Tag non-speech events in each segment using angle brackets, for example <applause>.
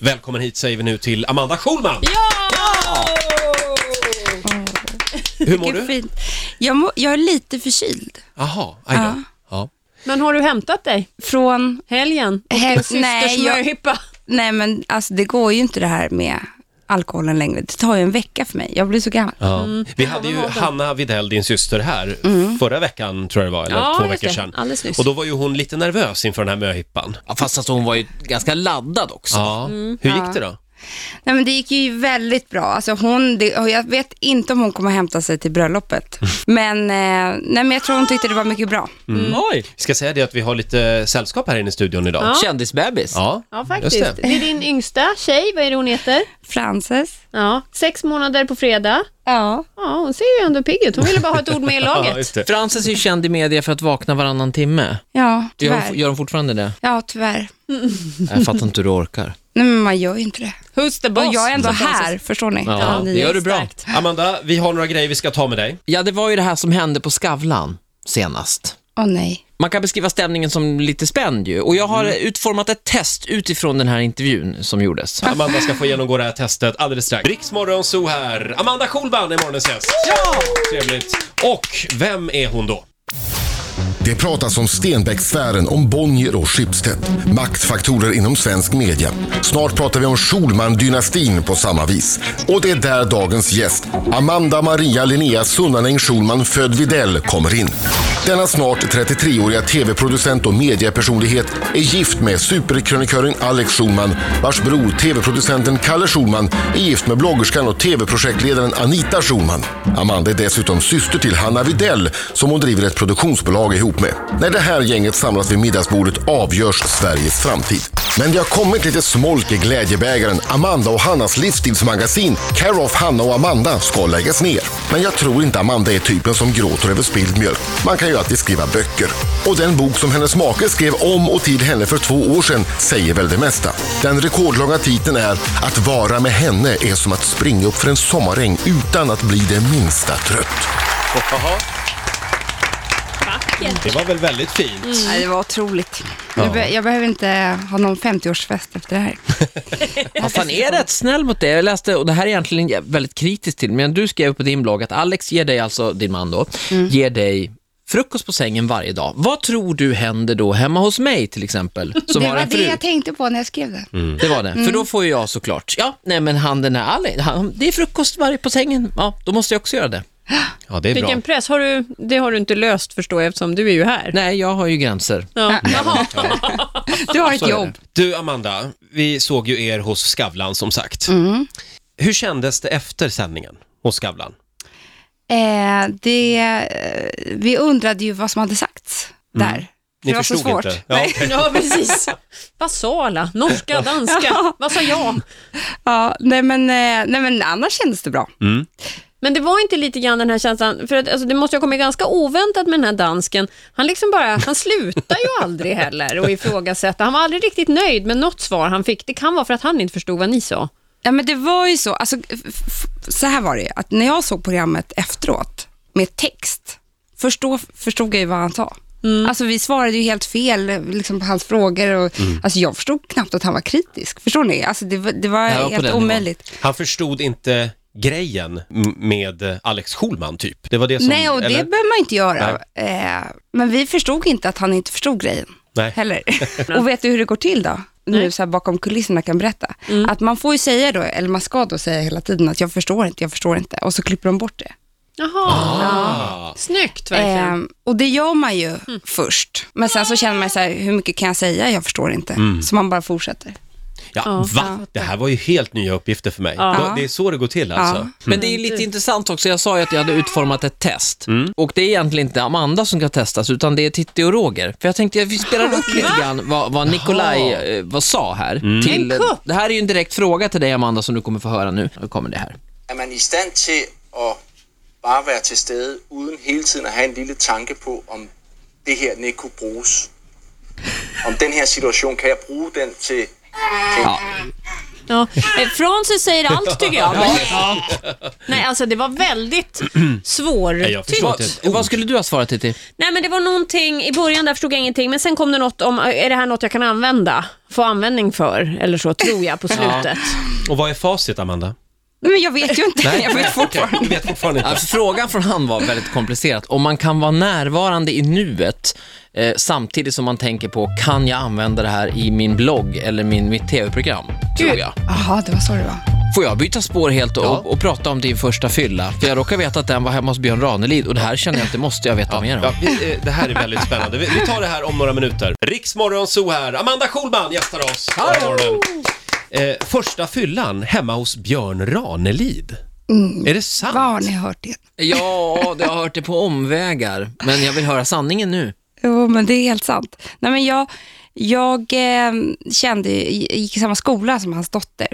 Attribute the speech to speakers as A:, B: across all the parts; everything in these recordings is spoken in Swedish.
A: Välkommen hit säger vi nu till Amanda Schulman!
B: <laughs> Ja!
A: Hur mår du?
C: Vilken Fint. Jag, mår- jag är lite förkyld.
A: Jaha, aj då.
C: Ja.
A: Ja.
B: Men har du hämtat dig?
C: Från...
B: Helgen? Och
C: Hel-
B: din systers
C: nej, jag-
B: smörhippa?
C: Nej, men alltså, det går ju inte det här med alkoholen längre. Det tar ju en vecka för mig. Jag blir så gammal.
A: Ja.
B: Mm.
A: Vi hade ju Hanna Videll, din syster, här förra veckan tror jag det var, eller
B: Ja,
A: två
B: just
A: veckor
B: det.
A: sedan.
B: Alldeles nyss.
A: Och då var ju hon lite nervös inför den här möhippan.
D: Ja, fast alltså hon var ju ganska laddad också.
A: Ja.
B: Mm.
A: Hur gick det då?
C: Nej, men det gick ju väldigt bra. Alltså, hon, det, och jag vet inte om hon kommer hämta sig till bröllopet.
D: Mm.
C: Men, eh, nej, men jag tror hon tyckte det var mycket bra.
D: Oj!
A: Vi Mm. ska säga det att vi har lite sällskap här inne i studion idag.
B: Mm. Ja.
D: Kändisbebis.
A: Ja,
B: Ja,
A: just
B: faktiskt. Det. är din yngsta tjej, vad är det hon heter?
C: Frances?
B: Ja, sex månader på fredag.
C: Ja.
B: Ja, hon ser ju ändå pigg ut. Hon ville bara ha ett ord med
A: <laughs>
B: i
A: Ja,
B: laget.
A: just det.
D: Frances är ju känd i media för att vakna varannan timme.
C: Ja,
D: Gör hon,
C: tyvärr.
D: gör hon fortfarande det?
C: Ja, tyvärr.
D: <laughs> Jag fattar inte hur du orkar.
C: Nej, men man gör ju inte det.
B: Who's the
C: Och jag är ändå
B: sa Frances.
C: här, förstår ni?
D: Ja,
C: Ni-
D: det gör du bra.
B: starkt.
A: Amanda, vi har några grejer vi ska ta med dig.
D: Ja, det var ju det här som hände på Skavlan senast.
C: Åh nej.
D: Man kan beskriva stämningen som lite spänd ju. Och jag har utformat ett test utifrån den här intervjun som gjordes.
A: Amanda ska få genomgå det här testet alldeles strax. Riksmorgon så här. Amanda Schulman är morgonens gäst. Ja! Trevligt. Och vem är hon då?
E: Det pratas om Stenbecksfären, om Bonnier och Schibsted. Maktfaktorer inom svensk media. Snart pratar vi om Schulman-dynastin på samma vis. Och det är där dagens gäst, Amanda Maria Linnea Sunnaning Schulman född Widell, kommer in. Denna snart 33-åriga tv-producent och mediepersonlighet är gift med superkrönikören Alex Schulman, vars bror tv-producenten Kalle Schulman är gift med bloggerskan och tv-projektledaren Anita Schulman. Amanda är dessutom syster till Hanna Widell som hon driver ett produktionsbolag ihop med. När det här gänget samlas vid middagsbordet avgörs Sveriges framtid. Men det har kommit lite smolk i glädjebägaren. Amanda och Hannas livsstilsmagasin Care of Hanna och Amanda ska läggas ner. Men jag tror inte Amanda är typen som gråter över spilld mjölk. Man kan ju alltid skriva böcker. Och den bok som hennes make skrev om och till henne för två år sedan säger väl det mesta. Den rekordlånga titeln är Att vara med henne är som att springa upp för en sommaräng utan att bli det minsta trött.
A: Det var väl väldigt fint.
C: Nej, det var otroligt. Jag, Mm. be- jag behöver inte ha någon 50-årsfest efter det här.
D: Fast han är rätt snäll mot det. Jag läste, och det här är egentligen väldigt kritiskt till, men du skrev på din blogg att Alex ger dig, alltså din man då,
C: Mm.
D: ger dig frukost på sängen varje dag. Vad tror du händer då hemma hos mig
C: <laughs>
D: till exempel, som
C: det
D: har
C: var
D: en
C: det Mm.
D: fru?
C: jag tänkte på när jag skrev det.
D: Det var det. För då får ju jag såklart, ja, nej men han den här Alex, han, det är frukost varje på sängen, ja, då måste jag också göra det.
A: Ja, det är bra.
B: Vilken press. Har du, det har du inte löst förstår jag eftersom du är ju här.
D: Nej, jag har ju gränser.
B: Ja.
A: <laughs>
B: Jaha.
C: Du har ett
D: Så är det.
C: jobb.
A: Du Amanda, vi såg ju er hos Skavlan som sagt.
C: Mm.
A: Hur kändes det efter sändningen hos Skavlan?
C: Eh, det, eh, vi undrade ju vad som hade sagts där. För
A: Ni
C: det var så
A: förstod
C: svårt.
A: inte? Ja,
C: Nej.
A: okej.
B: Ja, precis. Basala,
A: <laughs>
B: norska, danska. Vad sa jag?
C: Ja, nej, men, eh, nej, men annars kändes det bra.
B: Men det var inte lite grann den här känslan, för att, alltså, det måste ju ha kommit ganska oväntat med den här dansken. Han liksom bara, han slutar ju aldrig heller och ifrågasätta. Han var aldrig riktigt nöjd med något svar han fick. Det kan vara för att han inte förstod vad ni sa.
C: Ja, men det var ju så. Alltså, f- f- så här var det ju, att när jag såg programmet efteråt med text, förstå, förstod jag ju vad han sa. Alltså vi svarade ju helt fel liksom, på hans frågor. Och, Alltså jag förstod knappt att han var kritisk. Förstår ni? Alltså det, var- det var
D: Ja, på den
C: helt
D: nivån.
C: omöjligt.
A: Han förstod inte grejen m- med Alex Schulman typ. Det var det som...
C: Nej, och det
A: eller?
C: behöver man inte göra. Eh, men vi förstod inte att han inte förstod grejen
A: Nej.
C: heller. och vet du hur det går till då? Nu så här bakom kulisserna kan jag berätta. Att man får ju säga då, eller man ska då säga hela tiden att jag förstår inte, jag förstår inte. Och så klipper de bort det.
B: Jaha.
A: Ah.
B: Snyggt verkligen.
C: Eh, och det gör man ju först. Men sen så känner man så här, hur mycket kan jag säga, jag förstår inte. Så man bara fortsätter.
A: Ja, va? Det här var ju helt nya uppgifter för mig.
B: Ja.
A: Det är så det går till alltså.
D: Men det är lite
B: Mm.
D: intressant också, jag sa ju att jag hade utformat ett test. Och det är egentligen inte Amanda som ska testas, utan det är Titti och Roger. För jag tänkte att vi spelar
B: <laughs>
D: upp lite grann vad, vad Nikolaj
A: Jaha.
D: eh, vad sa här.
B: En
D: Till,
B: kupp.
D: det här är ju en direkt fråga till dig Amanda som du kommer få höra nu. Nu kommer det här.
F: Er man i stand til at bare være til stede, uden hele tiden at have en lille tanke på, om det her ikke kunne bruges? Om den her situation, kan jeg bruge den til...
D: Ja.
B: Ja. Eh, Francis säger allt tycker jag. Nej, alltså det var väldigt
A: jag förstår
B: svårtytt.
A: inte.
D: Vad, vad skulle du ha svarat Titti?
B: Nej men det var någonting, i början där förstod jag ingenting men sen kom det något om, eh, är det här något jag kan använda? Få användning för, eller så tror jag på slutet.
A: Och vad är facit, Amanda?
C: Nej, men jag vet
A: <laughs>
C: ju inte. <laughs> Jag vet fortfarande.
A: Du vet fortfarande inte.
D: Alltså, frågan från han var väldigt komplicerad. Om man kan vara närvarande i nuet eh, samtidigt som man tänker på, kan jag använda det här i min blogg eller min, mitt tv-program? Tror jag.
C: Jaha, det var så det var.
D: Får jag byta spår helt och, och, prata om din första fylla? För jag råkar veta att den var hemma hos Björn Ranelid och det här känner jag att det måste jag veta mer om.
A: Ja, vi, eh, det här är väldigt spännande. Vi, vi tar det här om några minuter. Riksmorgon Zoo här. Amanda Schulman gästar oss. God morgon. Eh, första fyllan hemma hos Björn Ranelid.
C: Mm.
A: Är det sant?
C: Vad har ni hört det?
D: Ja, det har jag hört det på omvägar, men jag vill höra sanningen nu.
C: Jo, men det är helt sant. Nej, men jag jag eh, kände, gick i samma skola som hans dotter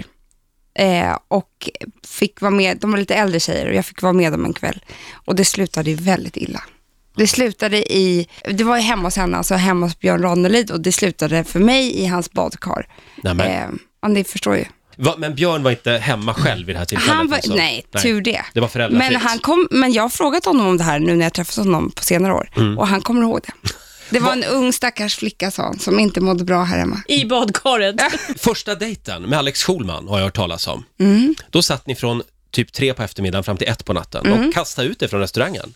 C: eh, och fick vara med, de var lite äldre tjejer och jag fick vara med dem en kväll och det slutade ju väldigt illa. Det slutade i, det var ju hemma hos henne, alltså hemma hos Björn Ranelid och det slutade för mig i hans badkar.
A: Nej, men-
C: Eh, ja, ni förstår ju.
A: Va, men Björn var inte hemma själv vid det här tillfället?
C: Han var,
A: alltså?
C: nej, tur det.
A: Det var föräldrafritt.
C: men, han kom, men jag har frågat honom om det här nu när jag träffat honom på senare år
A: Mm.
C: och han kommer ihåg det. Det var en ung stackars flicka, sa han, som inte mådde bra här hemma.
B: I badkaret. <laughs>
A: Första dejten med Alex Schulman har jag hört talas om.
C: Mm.
A: Då satt ni från typ tre på eftermiddagen fram till ett på natten.
C: Mm.
A: De kastade ut er från restaurangen.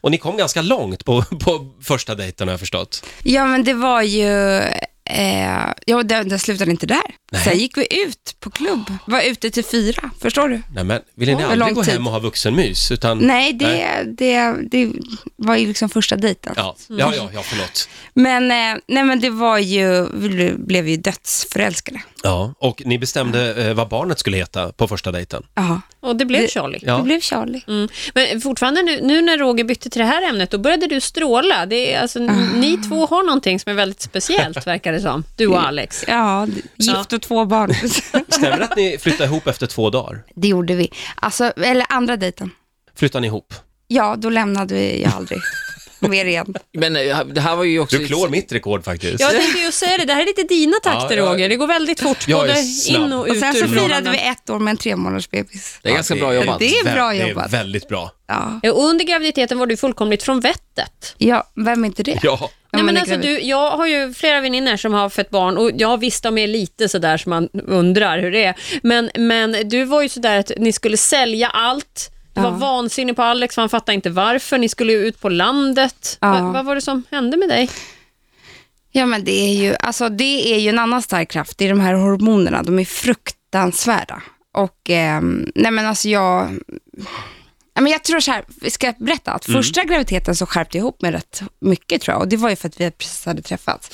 A: Och ni kom ganska långt på, <laughs> på första dejten har jag förstått.
C: Ja, men det var ju... Eh, ja, det, det slutade inte där. Sen gick vi ut på klubb, var ute till fyra, förstår du?
A: Nej, men ville ni
C: Oj,
A: aldrig
C: lång
A: gå
C: tid.
A: hem och ha vuxenmys? Utan,
C: Nej, det, Det, det var ju liksom första dejten.
A: Ja, ja, ja, ja, förlåt.
C: Men, eh, nej, men det var ju, vi blev ju dödsförälskade.
A: Ja, och ni bestämde eh, vad barnet skulle heta på första dejten.
C: Ja,
B: Och det blev Charlie.
A: Ja.
C: det blev Charlie.
B: Mm. Men fortfarande nu, nu när Roger bytte till det här ämnet, då började du stråla. Det är, alltså, n- Ni två har någonting som är väldigt speciellt, <laughs> verkar det som. Du och Alex.
C: Ja, gift och två barn.
A: Stämmer det att ni flyttade ihop efter två dagar?
C: <laughs> det gjorde vi. Alltså, eller andra dejten.
A: Flyttade ni ihop?
C: Ja, då lämnade vi jag aldrig mer igen.
D: Men eh, det här var ju också...
A: Du klår mitt rekord faktiskt.
B: Jag tänkte ju säga det, det här är lite dina takter
A: Ja, jag-
B: Roger. Det går väldigt fort,
A: Jag är
B: både
A: snabb.
B: in och ut
C: Och sen
B: ur
C: så firade
B: förhållanden.
C: vi ett år med en tremånadersbebis.
D: Det är ganska
A: Ja,
D: bra jobbat.
C: Det är bra
A: Vä-
C: jobbat.
A: Det är väldigt bra.
C: Ja.
B: Och Under graviditeten var du fullkomligt från vettet.
C: ja, vem är inte det?
A: Ja.
B: Nej,
C: man
B: men
C: är
B: alltså,
C: gravid.
B: du, jag har ju flera väninnor som har fött barn och jag visst de är lite sådär som man undrar hur det är. Men, men du var ju sådär att ni skulle sälja allt. Du var
C: Ja.
B: vansinnig på Alex, för han fattade inte varför. Ni skulle ju ut på landet.
C: Ja.
B: Va, vad var det som hände med dig?
C: Ja, men det är ju, alltså det är ju en annan stark kraft. Det är de här hormonerna, de är fruktansvärda. Och, ehm, nej men alltså jag... Ja, men jag tror så här, vi ska berätta att första graviditeten så skärpte jag ihop mig rätt mycket tror jag. Och det var ju för att vi precis hade träffats.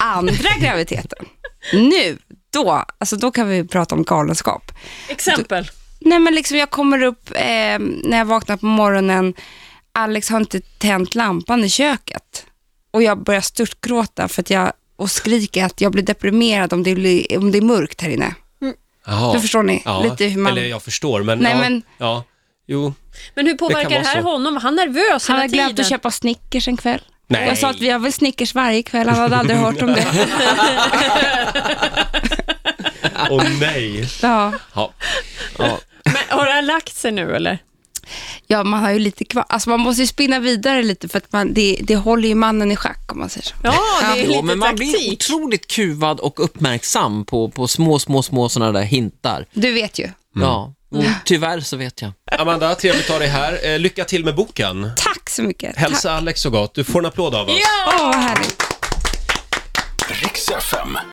C: Andra graviditeten, nu, då, alltså då kan vi prata om galenskap.
B: Exempel.
C: Nej men liksom jag kommer upp eh, när jag vaknar på morgonen, Alex har inte tänt lampan i köket och jag börjar störtgråta för att jag, och skriker att jag blir deprimerad om det, blir, om det är mörkt här inne.
A: Jaha.
C: Då förstår ni
A: Ja.
C: lite hur man...
A: Eller jag förstår, men...
C: Nej,
A: ja,
C: men-
A: ja. Jo.
B: Men hur
A: Det
B: påverkar det,
A: kan vara
B: här
A: så.
B: honom? Var han nervös
C: Han
B: hela
C: har glömt
B: tiden?
C: att köpa Snickers en kväll.
A: Nej.
C: Jag sa att vi har väl Snickers varje kväll, han hade aldrig hört
A: <laughs>
C: om det.
A: Åh nej.
C: Ja,
A: Ja. ja.
B: Men, har det här lagt sig nu eller?
C: ja man har ju lite kvar. Alltså man måste ju spinna vidare lite för att man, det, det håller ju mannen i schack om man säger så.
B: Ja, det är
D: Jo,
B: lite
D: men man blir
B: taktik.
D: otroligt kuvad och uppmärksam på, på små, små, små sådana där hintar.
C: Du vet ju.
D: Ja, och tyvärr så vet jag.
A: Amanda, trevligt att ha dig här. Eh, Lycka till med boken.
C: Tack så mycket. Tack.
A: Hälsa Alex så gott. Du får en applåd av oss.
C: Åh, vad härligt.
G: Riks FM.